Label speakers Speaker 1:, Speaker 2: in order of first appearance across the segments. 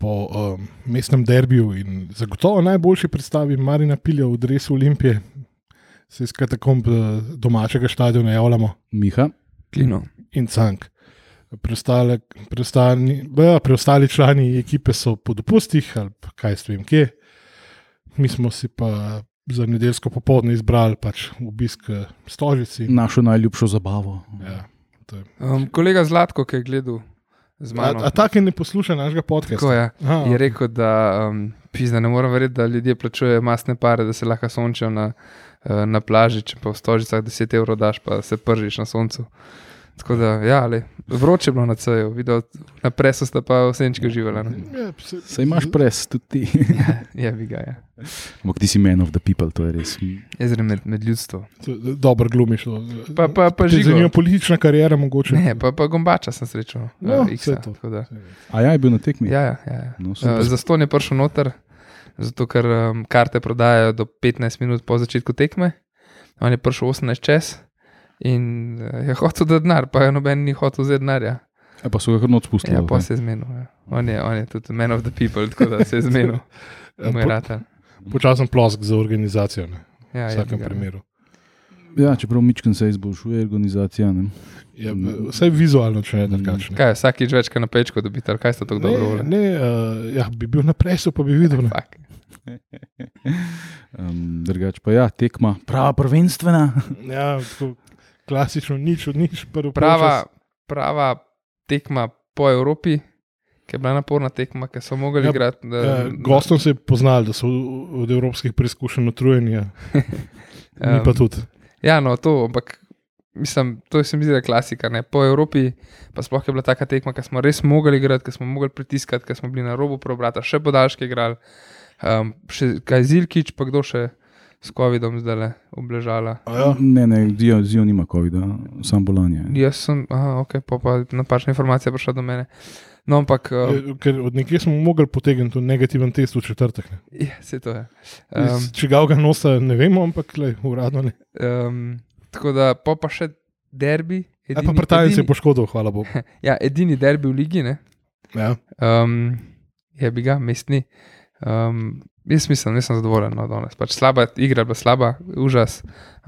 Speaker 1: po um, mestnem derbiju in zagotovo najboljši predstavi Marina Pilja v Dresu Olimpije, se iz katakomb eh, domačega stadiona javljamo
Speaker 2: Miha,
Speaker 3: Klino.
Speaker 1: in Cank. Preostale, preostani, ja, preostali člani ekipe so po dopustih ali pa kaj s vem kje. Mi smo si pa za nedeljsko popoldne izbrali pač obisk eh, Stožici.
Speaker 3: Mm.
Speaker 2: našo najljubšo zabavo.
Speaker 1: Ja,
Speaker 3: Um, kolega Zlatko, ki je gledal z
Speaker 1: a,
Speaker 3: mano,
Speaker 1: a tak je ne posluša našega
Speaker 3: tako
Speaker 1: podcasta.
Speaker 3: je.
Speaker 1: Aha,
Speaker 3: Je rekel, da um, pizda, ne morem verjeti, da ljudje plačujejo masne pare, da se lahko sončijo na, eh, na plaži, če pa v stožicah 10 evrov daš, pa se pržiš na soncu. Tako da, ja, le, vroče je bilo na CEU, videl, na presu sta pa vsenčka živela. ne.
Speaker 1: Ja, se-
Speaker 2: Saj imaš
Speaker 3: Mhm.
Speaker 2: pres, tudi ti.
Speaker 3: Je bi ga, ja.
Speaker 2: Ampak ti si man of the people, to je res.
Speaker 3: Jaz grem med, med ljudstvo.
Speaker 1: Dobro glumiš. no.
Speaker 3: Pa, pa, pa
Speaker 1: Te
Speaker 3: že
Speaker 1: Zanima politična karijera, mogoče.
Speaker 3: Ne, pa, pa gombača sem srečal.
Speaker 1: No,
Speaker 3: eh,
Speaker 1: saj
Speaker 3: Iksa,
Speaker 1: to.
Speaker 3: tako da.
Speaker 2: A ja, je bil na tekmi.
Speaker 3: Ja, ja, ja, ja.
Speaker 2: No,
Speaker 3: Uh,
Speaker 2: super.
Speaker 3: za ston je prišel noter, zato ker um, karte prodajajo do 15 minut po začetku tekme. On je prišel 18 čez in uh, je hotel da denar, pa je noben ni hotel vzeti denarja.
Speaker 2: E, pa so ga kar noč spustili.
Speaker 3: Ja,
Speaker 2: ali
Speaker 3: pa
Speaker 2: kaj?
Speaker 3: se je zmenil. Ja. On, je, on je tudi man of the people, tako da se je zmenil.
Speaker 1: Ja,
Speaker 3: Moj
Speaker 1: po-
Speaker 3: rata.
Speaker 1: Počasen plosk za organizacijo, ne,
Speaker 3: Ja,
Speaker 1: v
Speaker 3: je
Speaker 1: vsakem
Speaker 3: bi ga.
Speaker 1: primeru.
Speaker 2: ja čeprav mičken se izboljšuje organizacija. Ne?
Speaker 1: Je, vsaj vizualno, če ne drugačne.
Speaker 3: Kaj, vsakič več, kaj na pečko dobite, ali kaj ste tako dobro
Speaker 1: Ne,
Speaker 3: volili?
Speaker 1: ne uh, ja, bi bil na presu, pa bi videl. Ne.
Speaker 3: Fak.
Speaker 2: Um, drugač pa ja, tekma. Prava prvenstvena.
Speaker 1: Ja, tako, klasično, nič od nič. prvi
Speaker 3: Prava,
Speaker 1: polčas.
Speaker 3: prava tekma po Evropi, ki je bila naporna tekma, ki so mogli
Speaker 1: Ja,
Speaker 3: igrati.
Speaker 1: Ja, gostom se je poznal, da so od evropskih preizkušenj utrujeni, ja. mi
Speaker 3: Em,
Speaker 1: pa tudi.
Speaker 3: Ja, no, to, ampak mislim, to se mi zdi, da je klasika. Ne? Po Evropi pa sploh je bila taka tekma, ki smo res mogli igrati, ki smo mogli pritiskati, ki smo bili na robu preobrata, še podaljške igrali. Um, še kaj Zilkič, pa kdo še s COVID-om zdaj le obležala.
Speaker 1: Ja.
Speaker 2: Ne, ne, Dio, Dio nima COVID-a, sam bolanje.
Speaker 3: Jaz sem, aha, ok, pa pa napačna informacija je prišla do mene. No, ampak, um,
Speaker 1: Ja, Ker od nekje smo mogli potegniti tudi negativen test v četrtek. ne.
Speaker 3: je, se to je. Um,
Speaker 1: Iz Čigav ga nosa ne vemo, ampak le, uradno ne.
Speaker 3: um, tako da, pa pa še derbi.
Speaker 1: Ja, pa Britanec je
Speaker 3: edini,
Speaker 1: poškodoval, hvala Bogu.
Speaker 3: ja, edini derbi v ligi, ne?
Speaker 1: Ja.
Speaker 3: Um, je bi ga, mestni. Um, jaz mislim, nisem zadovoljen od danes. Pač slaba igra, je bila slaba, užas,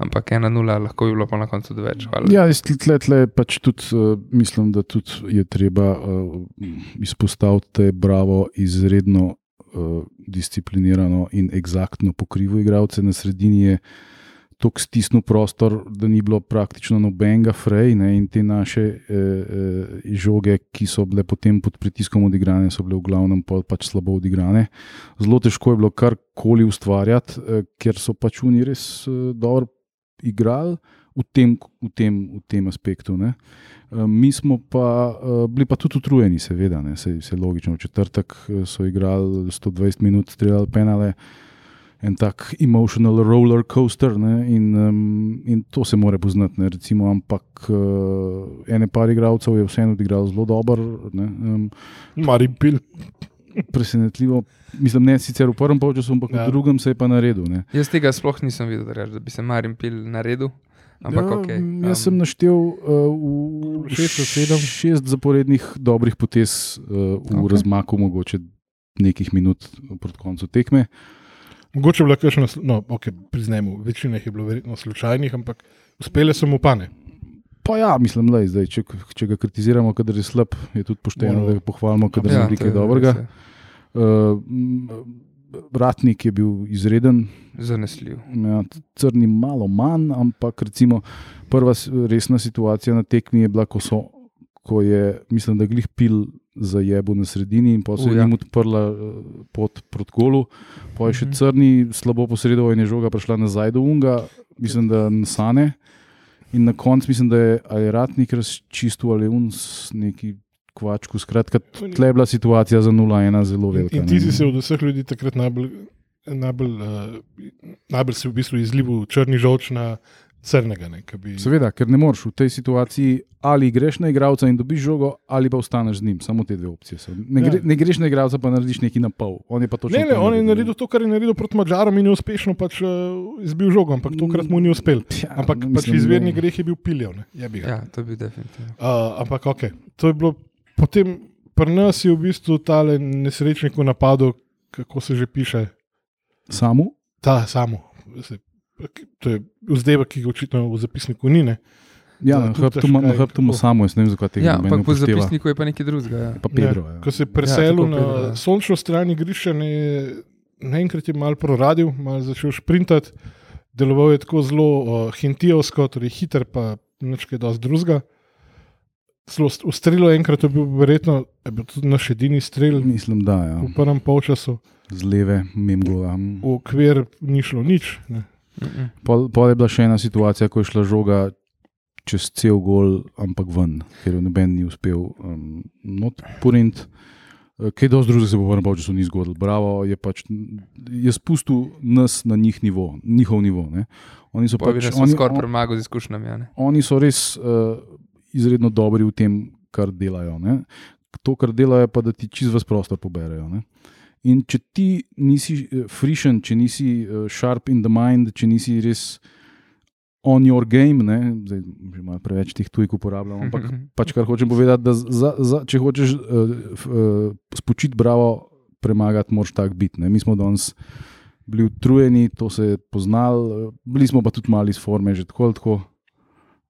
Speaker 3: ampak ena nula, lahko bi bilo pa na koncu več. Hvala.
Speaker 2: Ja, jaz tle- tle, tle pač tudi uh, mislim, da tudi je treba uh, izpostaviti, da je Bravo izredno uh, disciplinirano in eksaktno pokrival igralce. Na sredini je tako stisnil prostor, da ni bilo praktično nobenega frej ne, in te naše eh, eh, žoge, ki so bile potem pod pritiskom odigrane, so bile v glavnem pol pač slabo odigrane. Zelo težko je bilo karkoli ustvarjati, eh, ker so pač oni res eh, dobro igrali v tem, v tem, v tem aspektu. Ne. Eh, Mi smo pa eh, bili pa tudi utrujeni, seveda, ne, se, se logično. V četrtek eh, so igrali 120 minut, streljali penale, en tak emotional roller coaster ne, in, um, in to se more poznati. Ne, recimo, ampak uh, ene par igralcev je vseeno odigral zelo dobro. ne, Um,
Speaker 1: Mari bil.
Speaker 2: presenetljivo, mislim, ne sicer v prvem polčasu, ampak
Speaker 1: Ja.
Speaker 2: ja. v drugem se je pa naredil. Ne.
Speaker 3: Jaz tega sploh nisem videl, da, reč, da bi se Marim pil na redu. Ampak ja. ok.
Speaker 2: um, jaz sem naštel uh, v
Speaker 1: Šest od sedem.
Speaker 2: šest zaporednih dobrih potez uh, v
Speaker 3: Okej.
Speaker 2: okay. razmaku, mogoče nekih minut pred koncem tekme.
Speaker 1: Mogoče je bila kakšna, slu- no, ok, priznajmo, večina jih je bilo verjetno slučajnih, ampak uspele so mu pane.
Speaker 2: Pa ja, mislim, da je zdaj, če, če ga kritiziramo, kadar je slab, je tudi pošteno,
Speaker 1: Moramo.
Speaker 2: da ga pohvalimo, kadar
Speaker 1: Ja,
Speaker 2: ja, ne
Speaker 3: to
Speaker 2: nekaj
Speaker 3: je
Speaker 2: dobrega.
Speaker 3: res,
Speaker 2: Uh, m, Ratnik je bil izreden,
Speaker 3: ja. Zanesljiv.
Speaker 2: Ja, crni malo manj, ampak recimo prva s- resna situacija na tekmi je bila, ko, so, ko je, mislim, da glih pil za jebo na sredini in potem
Speaker 3: U,
Speaker 2: se je
Speaker 3: ja.
Speaker 2: jim odprla eh, pot proti golu. Pa je še
Speaker 3: Mhm.
Speaker 2: crni, slabo posredoval in je žoga prišla nazaj do unga, mislim, da na sane. In na koncu mislim, da je ali je ratnik razčistil ali un s neki kvačku. Skratka, tle je bila situacija za 0-1 zelo
Speaker 1: In,
Speaker 2: velika.
Speaker 1: in ti
Speaker 2: ne.
Speaker 1: si se od vseh ljudi takrat najbolj, najbolj, uh, najbolj si v bistvu izlival črni žolč na crnega. Ne, ki bi,
Speaker 2: Seveda, ker ne moreš v tej situaciji ali greš na igralca in dobiš žogo, ali pa ostaneš z njim. Samo te dve opcije so. Ne,
Speaker 1: Ja.
Speaker 2: gre, ne greš na igralca, pa narediš nekaj na pol. On je pa točno.
Speaker 1: ne, ne,
Speaker 2: to
Speaker 1: on je naredil to, kar je naredil proti Mačarom in je uspešno pač, uh, izbil žogo, ampak tokrat mu ni uspel.
Speaker 2: Ja,
Speaker 1: Ampak
Speaker 2: mislim, Ja.
Speaker 1: pač izvirni
Speaker 2: ne.
Speaker 1: greh je bil Eh, piljev. Ne, jebi ga.
Speaker 3: Ja, to bi definitivno.
Speaker 1: Uh, ampak ok, to je bilo potem. Pri nas je v bistvu ta nesrečnik v napadu, kako se že piše,
Speaker 2: Samo?
Speaker 1: ta samo. Se- To je vzdevek, ki ga očitno v zapisniku ni. Ne?
Speaker 2: Ja,
Speaker 1: To je
Speaker 2: na
Speaker 1: tudi
Speaker 2: hrbtu ima- na
Speaker 1: težko,
Speaker 2: hrbtu ima
Speaker 1: kako.
Speaker 2: samo, jaz ne vem, zakaj tega
Speaker 3: Ja,
Speaker 2: noben
Speaker 3: ampak v
Speaker 2: upošteva.
Speaker 3: zapisniku je pa nekaj drugega. Ja.
Speaker 2: Pa Pedro, ja.
Speaker 1: Ko se je preselil
Speaker 3: tako
Speaker 1: ja, na
Speaker 3: Pedro, ja.
Speaker 1: Pedro, sončno stran igrišča, ne- naenkrat je mal proradil, mal začel šprintati. Deloval je tako zelo uh, hentijovsko, torej hiter, pa nekaj dosti drugega. Celo st- v strelu enkrat je bil verjetno je bil tudi naš edini strel
Speaker 2: Mislim, da ja.
Speaker 1: v prvem polčasu,
Speaker 2: z leve, memgola.
Speaker 1: v okvir ni šlo nič. Ne.
Speaker 3: Mhm.
Speaker 2: Pol, pol je bila še ena situacija, ko je šla žoga čez cel gol, ampak ven, ker jo noben ni uspel um, not porint. Eh, Kaj dosti drugega se bo v prvem času ni zgodilo. Bravo je pač je spustil nas na njih nivo, njihov nivo. Ne. Oni so
Speaker 3: Pa bi
Speaker 2: pač
Speaker 3: nas
Speaker 2: oni,
Speaker 3: skoraj
Speaker 2: on-
Speaker 3: premagal z izkušnjami. ja, ne.
Speaker 2: oni so res uh, izredno dobri v tem, kar delajo. Ne? To, kar delajo, je pa da ti čez vas prostor poberejo. Ne? In če ti nisi eh, frišen, če nisi eh, sharp in the mind, če nisi res on your game, ne? zdaj že malo preveč teh tujk uporabljam, ampak pač kar hočem povedati, da za, za, če hočeš uh, uh, spočiti bravo, premagati, moraš tak biti. ne. Mi smo danes bili utrujeni, to se je poznalo, eh, bili smo pa tudi mali iz forme, že tako ali tako.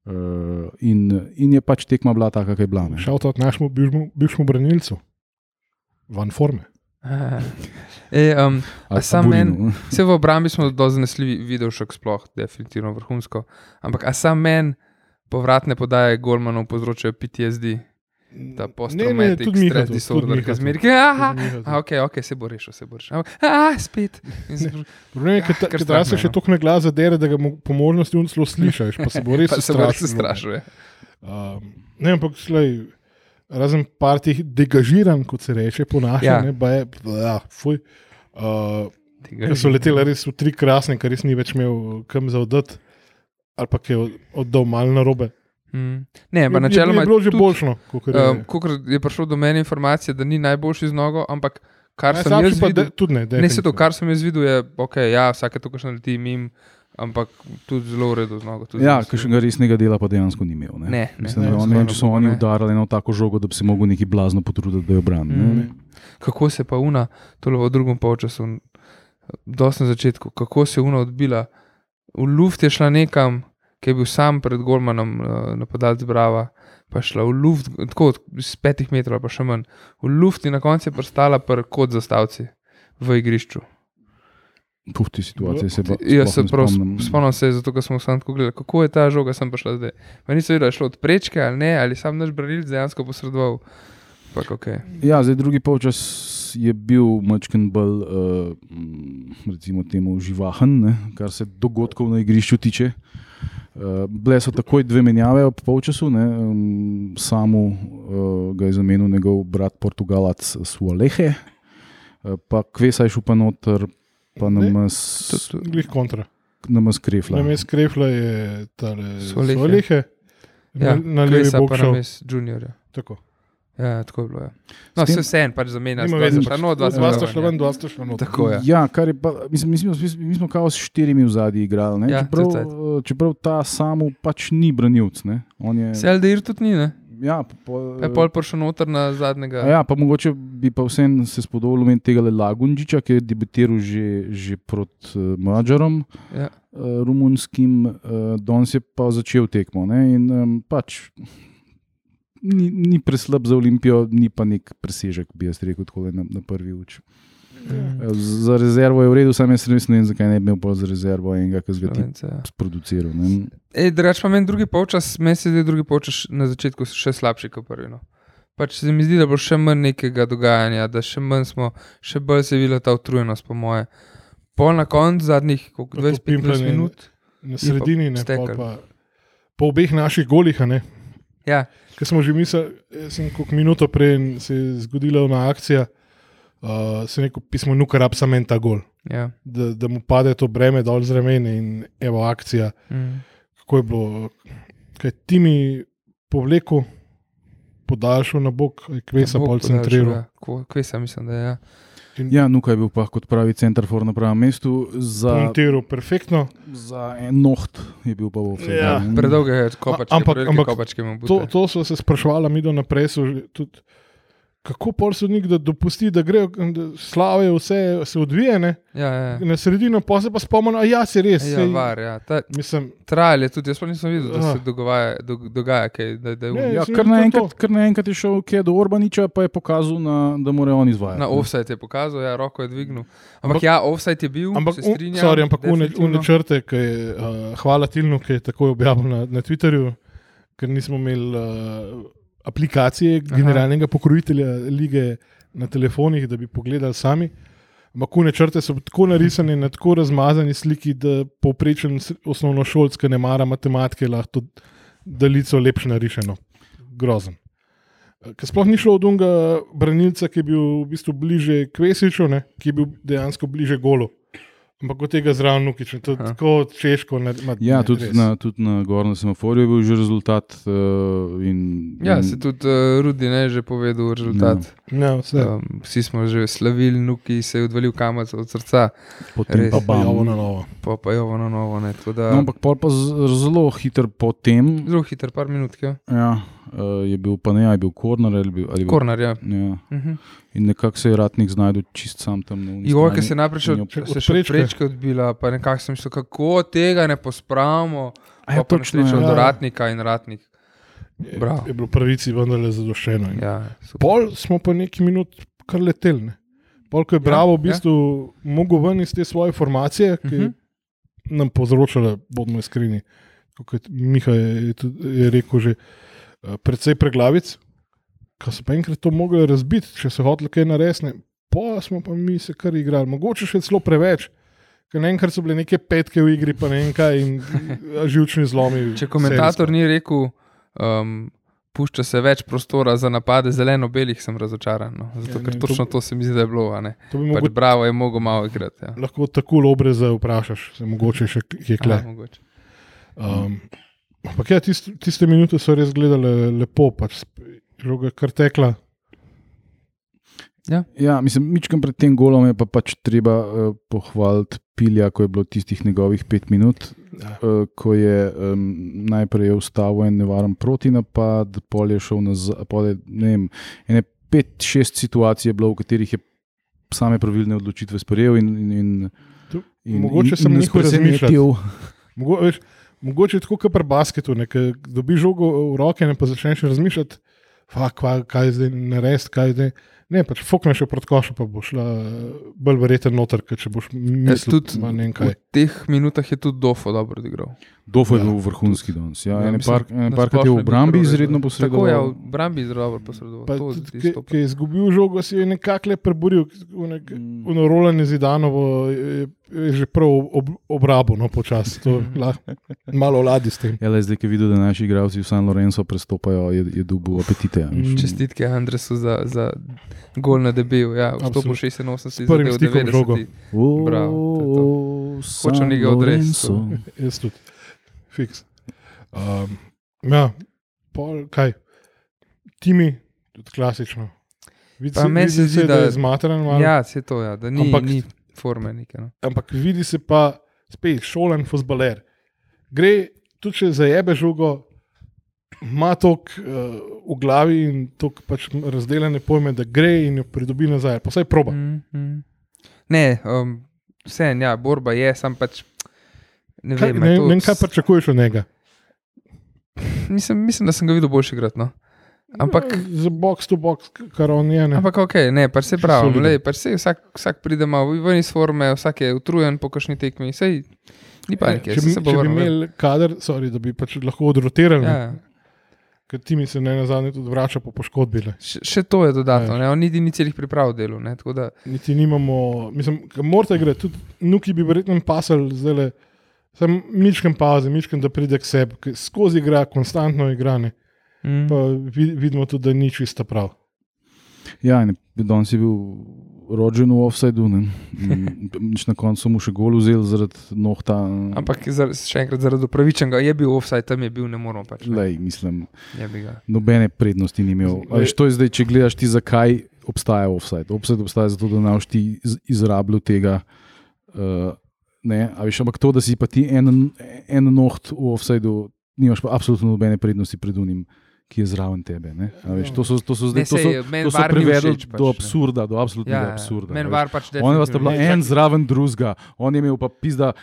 Speaker 2: Uh, in, in je pač tekma bila taka, kakor je bila. ne.
Speaker 1: Šel od našemu bivšemu- bivšemu branilcu, van forme.
Speaker 3: E, um,
Speaker 2: Ali pa
Speaker 3: sam
Speaker 2: Burinu, ne.
Speaker 3: Vse v obrambi smo zelo zanesljivi, videl še sploh, definitivno vrhunsko. Ampak a sam meni povratne podaje Golmanov povzročajo PTSD, ta posttraumatic
Speaker 1: tudi Miha
Speaker 3: stress
Speaker 1: to,
Speaker 3: disorder,
Speaker 1: tudi
Speaker 3: ki
Speaker 1: Miha to.
Speaker 3: zmeri. Aha,
Speaker 1: Tudi Miha to.
Speaker 3: aha, ok, ok, se bo rešil, se bo rešil. Ampak, Aha, spet. In se bo-
Speaker 1: Problem je, ker ta-
Speaker 3: kar
Speaker 1: ker ta se
Speaker 3: strahne,
Speaker 1: še
Speaker 3: no.
Speaker 1: tako na glas zadere, da ga mu po možnosti on celo slišiš, pa se bo res no.
Speaker 3: Pa se bo res
Speaker 1: strašil.
Speaker 3: strašil. ja.
Speaker 1: Um, ne, ampak slej, razen par teh degažiran, kot se reče po našem,
Speaker 3: Ja.
Speaker 1: ja. ne, baje, ja, fuj. Uh,
Speaker 3: Tega
Speaker 1: ker so
Speaker 3: ni.
Speaker 1: letele res v tri krasne, ker res ni več imel kam za oddati, ali pa je od- oddal malo na robe.
Speaker 3: Mm. Ne,
Speaker 1: Je-
Speaker 3: pa
Speaker 1: je-
Speaker 3: načeloma
Speaker 1: je bilo že
Speaker 3: tudi,
Speaker 1: boljšno, kot je
Speaker 3: Um, Ko je prišlo do mene informacija, da ni najboljši z nogo, ampak kar sem jaz videl,
Speaker 1: tudi ne.
Speaker 3: Ne, se to,
Speaker 1: definitivno.
Speaker 3: kar sem jaz videl, je, okay, ja, vsake to, kar še naleti, mim, ampak tudi zelo v redu z nogo. tudi
Speaker 2: Ja,
Speaker 3: mislim.
Speaker 2: kakšnega resnega dela pa dejansko ni imel. Ne?
Speaker 3: Ne, ne,
Speaker 2: Mislim,
Speaker 1: ne,
Speaker 2: da on- ne,
Speaker 3: hvala
Speaker 2: vem, če so
Speaker 3: bogu,
Speaker 2: oni
Speaker 3: ne.
Speaker 2: udarili eno tako žogo, da bi se lahko neki blazno potrudili, da jo branijo.
Speaker 3: Mm. Kako se pa una, tole v drugem polčasu, dosti na začetku, kako se je una odbila. V luft je šla nekam, ki je bil sam pred Golmanom, eh, napadalec Brava, pa je šla v luft, tako od- iz petih metrov, ali pa še manj. V luft in na koncu je prstala pr kot zastavci v igrišču.
Speaker 2: Puf, ti situacije se pa.
Speaker 3: Jaz
Speaker 2: sploh
Speaker 3: se
Speaker 2: ne
Speaker 3: prav
Speaker 2: spomnim.
Speaker 3: spomnim, se, je, zato ker smo samo tako gledali, kako je ta žoga sem prišla zdaj. Meni se je videlo, da je šlo od prečke ali ne, ali sam naš branilec dejansko posredoval. Ampak ok.
Speaker 2: Ja, zdaj drugi polčas je bil mačken bolj, uh, recimo, temu živahen, ne, kar se dogodkov na igrišču tiče. Uh, bile so takoj dve menjave ob polčasu, ne, um, samo uh, ga je zamenil njegov brat Portugalac Sualehe, uh, pa Kvesa je šel pa noter, pa
Speaker 1: Ne.
Speaker 2: nam
Speaker 1: Glih kontra.
Speaker 2: je skrefla.
Speaker 1: Na mestu Krefla je tale
Speaker 3: Solehe.
Speaker 1: Solehe,
Speaker 3: Ja,
Speaker 1: na, na levi
Speaker 3: Klesa
Speaker 1: bok
Speaker 3: pa
Speaker 1: šel.
Speaker 3: names juniorja.
Speaker 1: Tako.
Speaker 3: Ja, tako je bilo. Ja.
Speaker 2: S
Speaker 3: No,
Speaker 2: tem-
Speaker 3: vse vse en, pač zamenja.
Speaker 1: Nima
Speaker 3: dva
Speaker 1: veze,
Speaker 3: sta šla, No, dva sta
Speaker 1: Dva sta
Speaker 3: šla
Speaker 1: šla
Speaker 3: ven,
Speaker 1: ven, dva sta šla
Speaker 3: ja.
Speaker 1: not.
Speaker 3: Tako je.
Speaker 2: Ja, kar je pa, mislim, mi, smo, mi smo kao s štirimi v zadnji igrali. ne,
Speaker 3: Ja,
Speaker 2: čeprav,
Speaker 3: cajt.
Speaker 2: eh, čeprav ta samo pač ni branilc. ne, on je-
Speaker 3: Seldeir tudi ni, ne?
Speaker 2: Ja, pa pol,
Speaker 3: Pa Je pol prišel noter na zadnjega.
Speaker 2: A Ja, pa mogoče bi pa vsem se spodobil meni tega Lagunčiča, ki je debitiral že, že proti eh, Mačarom,
Speaker 3: Ja.
Speaker 2: eh, rumunskim, eh, danes je pa začel tekmo. Ne? In em, pač ni, ni preslab za Olimpijo, ni pa nek presežek, bi jaz rekel, tako na, na prvi uč.
Speaker 3: Mm.
Speaker 2: Eh, Za rezervo je v redu, sam jaz res ne vem, zakaj ne bi imel pa za rezervo enega, ki bi ti
Speaker 3: Slovenca, ja.
Speaker 2: produciral. Ne?
Speaker 3: Ej, Drugač pa meni drugi polčas, meni se zdi drugi polčas na začetku še slabši kot prvi. No. Pač se mi zdi, da bo še manj nekega dogajanja, da še manj smo, še bolj se je videla ta utrujenost, po moje. Pol na koncu zadnjih koliko,
Speaker 1: To
Speaker 3: 20-15
Speaker 1: pimplanje,
Speaker 3: minut.
Speaker 1: Na sredini, ne
Speaker 3: stekel.
Speaker 1: pol pa. Po obeh naših golih, a ne.
Speaker 3: Ja,
Speaker 1: Ker smo že mislili, jaz sem kot minuto prej in se je zgodila ena akcija, uh, se je neko pismo, nukar absamen ta gol,
Speaker 3: ja.
Speaker 1: da, da mu pade to breme dol z rameni in evo akcija,
Speaker 3: Mm.
Speaker 1: kako je bilo, kaj ti mi povleko, podaljšal na bok, a je kvesa
Speaker 3: Bog
Speaker 1: pol
Speaker 3: podaljšal,
Speaker 1: centriral.
Speaker 3: ja. Ko- Kvesa, mislim, da je. Ja.
Speaker 2: Ja, Nuka je bil pa kot pravi center for na pravem mestu za,
Speaker 1: Montiral perfektno.
Speaker 2: za en noht, je bil pa v vsej.
Speaker 1: Ja,
Speaker 3: Predolge je kopačke,
Speaker 1: ampak-
Speaker 3: ampak,
Speaker 1: ampak
Speaker 3: kopačke mu
Speaker 1: To,
Speaker 3: bodo.
Speaker 1: to so se sprašvali, mi do naprej so že tudi kako pol sodnik, da dopusti, da grejo da slave, vse se odvije, ne?
Speaker 3: Ja, ja.
Speaker 1: na sredino, pa se pa spomnim, a ja, se res.
Speaker 3: Ja,
Speaker 1: saj-
Speaker 3: var, ja. Ta,
Speaker 1: Mislim,
Speaker 3: trajal je tudi, jaz pa nisem videl, da se
Speaker 1: Ah.
Speaker 3: dogaja, do, dogaja kaj. Da, da,
Speaker 1: Ne,
Speaker 3: ne,
Speaker 2: Ja,
Speaker 1: Mislim,
Speaker 2: kar
Speaker 1: to je
Speaker 2: naenkrat
Speaker 1: to.
Speaker 2: kar naenkrat je šel kje do Orbaniča, pa je pokazal, na, da mora on izvajati.
Speaker 3: na
Speaker 2: ne.
Speaker 3: offset je pokazal, ja, roko je dvignil. Ampak, ampak
Speaker 1: Ampak-
Speaker 3: ja, offset je bil,
Speaker 1: Ampak,
Speaker 3: se
Speaker 1: un-
Speaker 3: strinjam,
Speaker 1: sorry, ampak une, une
Speaker 3: definitivno.
Speaker 1: črte, ki je, uh, hvala Tilnu, ki je tako objavil na, na Twitterju, ker nismo imeli uh, aplikacije generalnega pokrovitelja lige na telefonih, da bi pogledali sami. Ampak une črte so tako narisane na tako razmazani sliki, da povprečen s- osnovnošolc, ki ne mara matematike, lahko to daljico lepše narišeno. Grozen. Ker sploh ni šlo od unga branilca, ki je bil v bistvu bliže Kvesiču, ne, ki je bil dejansko bliže golu. Ampak od tega zraven Nukič, to je
Speaker 3: Aha.
Speaker 1: tako češko. Ne, ma,
Speaker 2: Ja,
Speaker 1: ne,
Speaker 2: tudi
Speaker 1: res.
Speaker 2: na, tudi na gornjem semaforju je bil že rezultat. Uh, in,
Speaker 3: Ja,
Speaker 2: in,
Speaker 3: se tudi uh, Rudi ne je že povedal rezultat.
Speaker 1: Ja, vse.
Speaker 3: No. Um, vsi smo že slavili, nuki se je odvalil kamen od srca,
Speaker 2: potem
Speaker 3: res.
Speaker 2: pa
Speaker 1: Pa
Speaker 2: bam.
Speaker 1: je ovo na novo.
Speaker 3: pa pa je ovo na novo. Ne, tako da,
Speaker 2: No, ampak pol pa z- zelo hiter po tem.
Speaker 3: Zelo hiter, par minut, ja.
Speaker 2: Ja, uh, je bil pa ne, a je bil korner ali je bil. Ali je bil
Speaker 3: Kornar, ja.
Speaker 2: Ja.
Speaker 3: Mhm.
Speaker 2: In nekako se je ratnik znašel čist sam tam na univerzi.
Speaker 3: Igor, ki se je najprej še
Speaker 2: in
Speaker 3: od,
Speaker 2: jo-
Speaker 3: se
Speaker 1: od
Speaker 3: je še od
Speaker 1: prečke.
Speaker 3: prečke odbila, pa nekako sem mislil, kako tega ne pospravimo.
Speaker 2: A ja,
Speaker 3: Pa pa
Speaker 2: točno,
Speaker 3: točno,
Speaker 1: ja.
Speaker 3: od ratnika in ratnik.
Speaker 1: Je,
Speaker 3: Bravo.
Speaker 1: je bilo pravici vendarle zadošeno. Ja.
Speaker 3: Ja, super.
Speaker 1: Pol smo pa nekaj minut kar letel. Ne. Pol, ko je Bravo v
Speaker 3: ja.
Speaker 1: bistvu ja. mogel ven iz te svoje formacije, ki uh
Speaker 3: Mhm.
Speaker 1: -huh. nam povzročala, bodimo iskreni, kot Miha je, je, tudi- je rekel, že eh, precej preglavic. Ko so pa enkrat to mogli razbiti, če so hoteli kaj narediti, ne. pa smo pa mi se kar igrali, mogoče še celo preveč. Ker naenkrat so bile neke petke v igri, pa ne vem kaj, in eh, živčni zlomi.
Speaker 3: Če komentator ni rekel, um, pušča se več prostora za napade zeleno-belih, sem razočaran. No. Zato,
Speaker 1: Ja,
Speaker 3: ker
Speaker 1: ne,
Speaker 3: točno
Speaker 1: to-
Speaker 3: to se mi zdi, da je bilo. a ne.
Speaker 1: serijsko. To bi
Speaker 3: Pač
Speaker 1: mogoče
Speaker 3: Bravo je mogel malo igrati. Ja.
Speaker 1: lahko tako obreze vprašaš, se mogoče še kje kle.
Speaker 3: Aha, mogoče.
Speaker 1: Um, ampak ja, tist, tiste minute so res gledale lepo, pač sp- žoga je kar tekla.
Speaker 2: Ja, mislim, mičkam pred tem golom je pa pač treba uh, pohvaliti Pilja, ko je bilo tistih njegovih pet minut,
Speaker 1: Ja.
Speaker 2: uh, ko je um, najprej je ustavil en nevaren protinapad, pol je šel nazaj. pol je, ne vem, Ene pet, šest situacij je bilo, v katerih je same pravilne odločitve sprejel in. in, in
Speaker 1: Tu-
Speaker 2: In,
Speaker 1: mogoče sem
Speaker 2: nas
Speaker 1: nehal razmišljati.
Speaker 2: presenetil.
Speaker 1: Mogo, veš, mogoče je tako kot pri basketu, ne, ko dobiš žogo v roke in pa začneš razmišljati, fa, kva, kaj zdaj narediti, kaj zdaj. Ne, pač fokneš jo proti košu, pa boš šla bolj verjeten noter, ker če boš
Speaker 3: Jaz
Speaker 1: mislil,
Speaker 3: tudi
Speaker 1: tudi ne vem
Speaker 3: V
Speaker 1: kaj.
Speaker 3: teh minutah je tudi Dofo dobro odigral.
Speaker 2: Dofo je
Speaker 1: Ja.
Speaker 2: bil vrhunski danes. Ja,
Speaker 3: Ja,
Speaker 2: ja,
Speaker 3: mislim,
Speaker 2: par, en
Speaker 3: na
Speaker 2: parkrat je
Speaker 3: splošno
Speaker 2: v obrambi
Speaker 3: bil dobro
Speaker 2: izredno
Speaker 3: odigral.
Speaker 2: posredoval.
Speaker 3: Tako je,
Speaker 1: ja.
Speaker 3: v obrambi je zelo dobro posredoval.
Speaker 1: Pa
Speaker 3: To je
Speaker 1: tudi, ki,
Speaker 3: tisto.
Speaker 1: ki je izgubil žogo, si jo je nekako le preboril. Unek,
Speaker 2: Mm.
Speaker 1: Unorolanje zidanovo je, je že prav ob, obrabo, no počasi, to lahko malo ladi s tem.
Speaker 2: Ja, le zdaj, ki je videl, da naši igralci v San Lorenzo prestopajo, je, je dubo apetite. Ja,
Speaker 1: Mm.
Speaker 3: Čestitke Andresu za, za gol na debil. Ja, vstopil
Speaker 1: Absolutno.
Speaker 3: 86,
Speaker 1: S prvim
Speaker 3: zadev
Speaker 1: stikom žogo.
Speaker 3: 90. Bravo, to je to. Hočem nekaj odresti, to.
Speaker 1: Jaz tudi, fiks. Um, ja, pol, kaj, timi, tudi klasično. Vidi
Speaker 3: Pa
Speaker 1: se,
Speaker 3: meni se
Speaker 1: vidi se,
Speaker 3: zdi,
Speaker 1: da
Speaker 3: da-
Speaker 1: je zmatran, malo, ja.
Speaker 3: Ja, se to, ja, da ni,
Speaker 1: Ampak-
Speaker 3: ni forme neke. No.
Speaker 1: ampak vidi se pa spet šolen fusbaler. Gre tudi če zajebe žogo, ima tok uh, v glavi in tok pač razdeljene pojme, da gre in jo pridobi nazaj. Pa vsaj proba.
Speaker 3: Mm, mm. Ne, um, vse en, ja, borba je, sam pač. Ne
Speaker 1: Kaj,
Speaker 3: vem, a
Speaker 1: ne,
Speaker 3: to
Speaker 1: ne vem, kaj pač-
Speaker 3: s-
Speaker 1: pričakuješ od njega.
Speaker 3: mislim, mislim, da sem ga videl boljši igrati. No. Ampak,
Speaker 1: Ja, za box to box, kar on je. Ne.
Speaker 3: ampak ok, ne, pač se
Speaker 1: Še
Speaker 3: pravi,
Speaker 1: soliden.
Speaker 3: lej, pač se vsak, vsak pride malo ven iz forme, vsak je utrujen po kakšni tekmi, sej ni panike,
Speaker 1: Ja, če, bi-
Speaker 3: saj se bo
Speaker 1: če bi
Speaker 3: vrnil. lej.
Speaker 1: imeli kader, sorry, da bi pač lahko odrotirali,
Speaker 3: Ja,
Speaker 1: ja.
Speaker 3: ja.
Speaker 1: ker ti mi se ne na zadnje tudi vrača po poškodbi. Ne.
Speaker 3: Še, še to je
Speaker 1: Ja.
Speaker 3: dodatno, ne, on niti ni celih priprav delo. Ne, tako da,
Speaker 1: Niti nimamo, mislim, ke morate gre, tudi nuki bi verjetno pasal zdaj le. Sam mičkam pauze, mičkam, da pride k sebi, ker skozi igra, konstantno igrane.
Speaker 3: mm.
Speaker 1: Pa vid- vidimo tudi, da ni čisto prav.
Speaker 2: Ja, in danes je bil rojen v offsajdu. Nič na koncu mu še gol vzel zaradi nohta.
Speaker 3: Ampak za, še enkrat, zaradi upravičenega je bil offside, tam je bil, ne moramo pač. Ne,
Speaker 2: Lej, mislim,
Speaker 3: jebi ga.
Speaker 2: nobene prednosti ni imel. A Veš, to je zdaj, če gledaš ti, zakaj obstaja offside. Offside obstaja zato, da ne boš ti iz- izrabil tega. Uh, ne, a veš, ampak to, da si pa ti en, en noht v offsajdu, nimaš pa absolutno nobene prednosti pred unim, ki je zraven tebe. ne. A Veš,
Speaker 1: Ja.
Speaker 2: to so, to so zdaj
Speaker 3: Ne,
Speaker 2: to so,
Speaker 3: sej, meni
Speaker 2: to so
Speaker 3: var ni
Speaker 2: privedli
Speaker 3: všeč pač,
Speaker 2: do
Speaker 3: ne. Ja,
Speaker 2: absurda, do absolutnega absurda.
Speaker 3: Meni
Speaker 2: veš.
Speaker 3: var pač
Speaker 2: Oni vas sta bila
Speaker 3: definitivno ni.
Speaker 2: en zraven drugega, on je imel pa pizda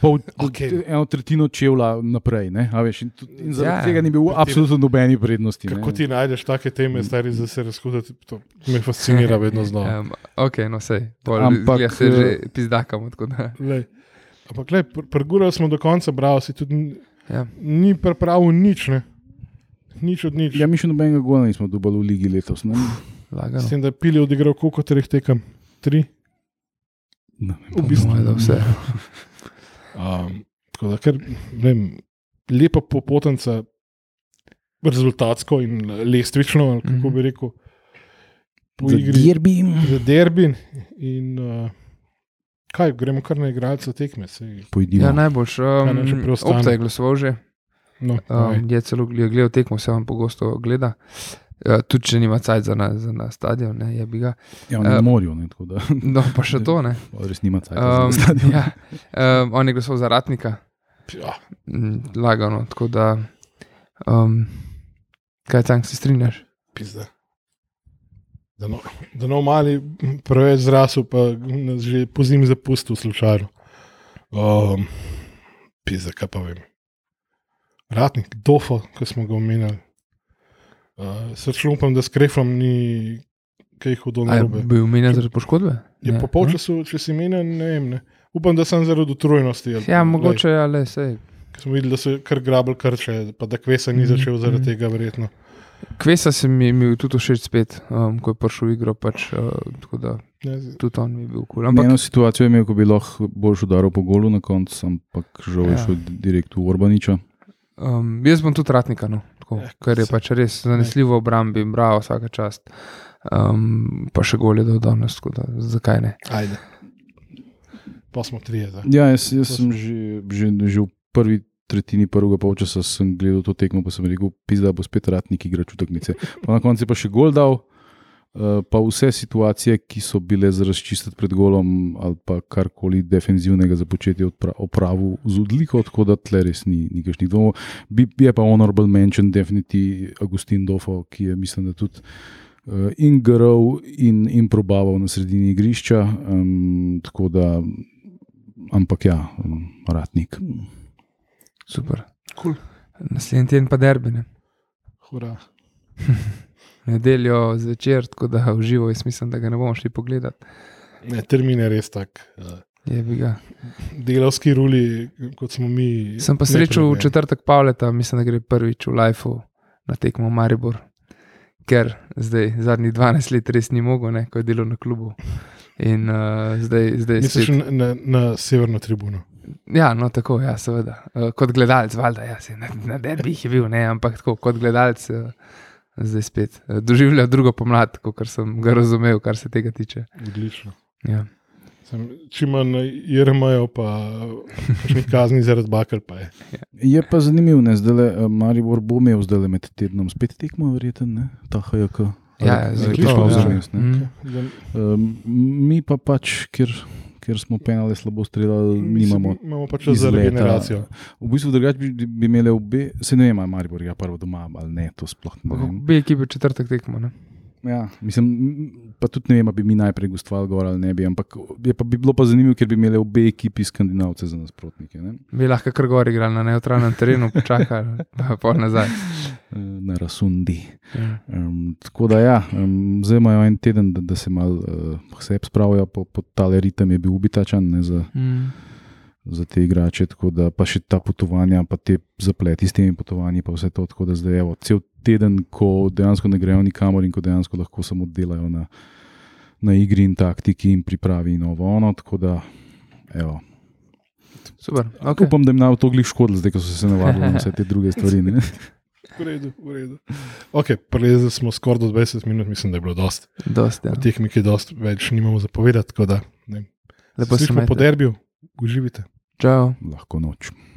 Speaker 2: pol, okay.
Speaker 1: Okej.
Speaker 2: eno tretjino čevla naprej. ne, a Veš, in, tu- in zaradi
Speaker 3: Ja.
Speaker 2: ja, tega ni bil absolutno nobeni prednosti. ne.
Speaker 1: Kako ti najdeš take teme, stari, da se razhudati, to me fascinira vedno znova.
Speaker 3: Um, ok, no sej,
Speaker 2: Ampak,
Speaker 3: ampak se že pizdakamo. tako da.
Speaker 1: Glej, Ampak, le, prgurali smo do konca, bravo, si tudi ni-
Speaker 3: Ja.
Speaker 1: ni pripravil nič, ne? nič od nič.
Speaker 2: Ja, mi še nobenega gola nismo dobili v ligi letos. Ne?
Speaker 1: S
Speaker 3: Lagano.
Speaker 1: tem, da je pili odigral koliko treh tekem, tri.
Speaker 2: Ne,
Speaker 1: V bistvu.
Speaker 3: Po moje, da vse.
Speaker 1: Um, tako da, ker, ne vem, lepa popotnica, rezultatsko in lestvično, ali kako bi rekel, po igri
Speaker 2: Derbi.
Speaker 1: za derbin. In uh, kaj, gremo kar na igralca tekme. Sej,
Speaker 2: Pojdimo.
Speaker 3: Ja, najboljš.
Speaker 1: Kaj nam še
Speaker 3: Um,
Speaker 1: preostane?
Speaker 3: Opta je glasoval že.
Speaker 1: no, um,
Speaker 3: Um, je celo je gledal tekmo, se vam pogosto gleda. Uh, tudi če nima cajt za na, za na stadion, ne, je bi ga.
Speaker 2: Ja, on je na
Speaker 3: Eh,
Speaker 2: morju, ne, tako da
Speaker 3: No, pa še to ne.
Speaker 2: res nima cajt. Um,
Speaker 3: Um, ja, um, on je glasoval za ratnika,
Speaker 1: ja,
Speaker 3: Mm, lagano. Tako da, um, kaj tam se strinjaš?
Speaker 1: pizda. Da no, da no mali preveč zrasel, pa nas že po zimi zapustil slučajno. Um, pizda, kaj pa vem. Ratnik, dofo, ki smo ga omenjali. Uh, Srčno upam, da s krefom ni kaj hudo
Speaker 3: A je
Speaker 1: narobe.
Speaker 3: bil menjen zaradi poškodbe?
Speaker 1: Je
Speaker 3: Ne.
Speaker 1: po polčasu, če si menil, ne vem. Ne. Upam, da sem zaradi utrujenosti. ali-
Speaker 3: Ja,
Speaker 1: glej,
Speaker 3: mogoče, ali sej.
Speaker 1: ker Smo videli, da so kar grabl krče, pa da kvesa ni
Speaker 3: Mhm,
Speaker 1: začel zaradi
Speaker 3: mhm.
Speaker 1: tega, verjetno.
Speaker 3: Kvesa se mi je bil tudi všeč spet, um, ko je prišel v igro, pač, uh, tako da
Speaker 1: Ne, z-
Speaker 3: tudi on mi je bil kul. Cool.
Speaker 2: Ampak,
Speaker 3: Ampak
Speaker 2: eno situacijo je imel, ko bi lahko boljš udaril po golu na koncu, ampak žal je
Speaker 3: Ja.
Speaker 2: šel direkt v Orbaniča.
Speaker 3: um, jaz bom tudi ratnika, no, tako,
Speaker 1: Ja,
Speaker 3: ker je
Speaker 1: se-
Speaker 3: pač res zanesljivo obrambi, bravo, vsaka čast. Um, pa še gol je do danes, tako da zakaj ne.
Speaker 1: Ajde. Pa smo trije. zdaj.
Speaker 2: Ja, jaz, jaz
Speaker 1: To
Speaker 2: sem že, že, že v prvi tretjini prvega polčasa sem gledal to tekmo, pa sem rekel, pizda bo spet ratnik igrač utakmice. Pa na koncu je pa še gol dal. eh, Pa vse situacije, ki so bile za razčistiti pred golom, ali pa karkoli defenzivnega za početje, odpra- opravil z odliko, tako da tle res ni nekakšnih dvomov. Bi, je pa honorable mention, definitivno Agustin Dofo, ki je, mislim, da tudi eh, in grov, in, in probaval na sredini igrišča. Um, tako da, ampak ja, em, ratnik.
Speaker 3: Super.
Speaker 1: Kul.
Speaker 3: Naslednji teden pa derbine.
Speaker 1: Hura.
Speaker 3: Nedeljo zvečer, tako da uživo, jaz mislim, da ga ne bomo šli pogledat.
Speaker 1: Ne, termin je res tak. eh,
Speaker 3: Jebi ga.
Speaker 1: Delavski ruli, kot smo mi.
Speaker 3: Sem pa
Speaker 1: ne
Speaker 3: srečal v
Speaker 1: preberemo.
Speaker 3: četrtek Pavleta, mislim, da gre prvič v Lifeu na tekmo v Maribor, ker zdaj zadnjih 12 let res ni mogel, ne, ko je delal na klubu. In uh, zdaj, zdaj
Speaker 1: Misliš
Speaker 3: spet-
Speaker 1: na, na, na severno tribuno.
Speaker 3: Ja, no tako, ja, seveda. Uh, kot gledalec, valjda, ja, saj na, na derbih je bil, ne, ampak tako, kot gledalec, uh, zdaj spet uh, doživlja drugo pomlad, kot sem ga razumel, kar se tega tiče.
Speaker 1: Odlično.
Speaker 3: Ja.
Speaker 1: Sem, čim manj jermajo, pa kakšnih kazni zaradi bakar pa je.
Speaker 2: Je pa zanimiv, ne zdaj, eh, Maribor bo imel zdaj med tednom spet tekmo, verjeten, ne, ta HJK.
Speaker 3: Ja,
Speaker 2: Ali-
Speaker 3: ja,
Speaker 2: ali
Speaker 1: zaključno,
Speaker 2: prišla
Speaker 1: ja.
Speaker 2: vzames, ne?
Speaker 3: Mm.
Speaker 1: Da-
Speaker 2: Em, Mi pa pač, ker, ker smo penali slabo streljali,
Speaker 1: mislim,
Speaker 2: nimamo
Speaker 1: Imamo pa čas za
Speaker 2: izleta.
Speaker 1: regeneracijo.
Speaker 2: V bistvu drugače bi, bi imeli obe, se ne vem, ali Maribor igra prvo doma ali ne, to sploh ne vem.
Speaker 3: Bi ekipi četrtek tekmo. Ne?
Speaker 2: Ja, mislim, m, pa tudi ne vem, ali bi mi najprej gostovali gor ali ne bi, ampak je pa bi bilo pa zanimivo, ker bi imeli obe ekipi skandinavce za nasprotnike, ne?
Speaker 3: Bi lahko kar gor igrali na neutralnem terenu, počakali pa pol nazaj.
Speaker 2: Eh, na Rasundi.
Speaker 3: Ja.
Speaker 2: Um, tako da, ja, um, zdaj imajo en teden, da, da se malo uh, sebe spravijo, po, po tale ritem je bil ubitačen ne, za,
Speaker 3: Mm.
Speaker 2: za te igrače, tako da pa še ta potovanja, pa te zapleti s temi potovanji, pa vse to, tako da zdaj je cel teden, ko dejansko ne grejo nikamor in ko dejansko lahko samo delajo na, na igri in taktiki in pripravi in ovo ono, tako da, evo.
Speaker 3: Super.
Speaker 2: Okay.
Speaker 3: Okay.
Speaker 2: Upam, da jim na to glih škodilo, zdaj ko so se navadili na vse te druge stvari. ne.
Speaker 1: V redu, v redu. Okay, Prelezili smo skoraj do 20 minut, mislim, da je bilo dosti.
Speaker 3: Dosti, ja.
Speaker 1: Ja. Teh nekaj dosti več nimamo zapovedati, tako da. ne vem.
Speaker 3: Lepo
Speaker 1: Se
Speaker 3: se
Speaker 1: slišimo po
Speaker 3: imejte.
Speaker 1: derbiju, uživite.
Speaker 3: Čau.
Speaker 2: Lahko noč.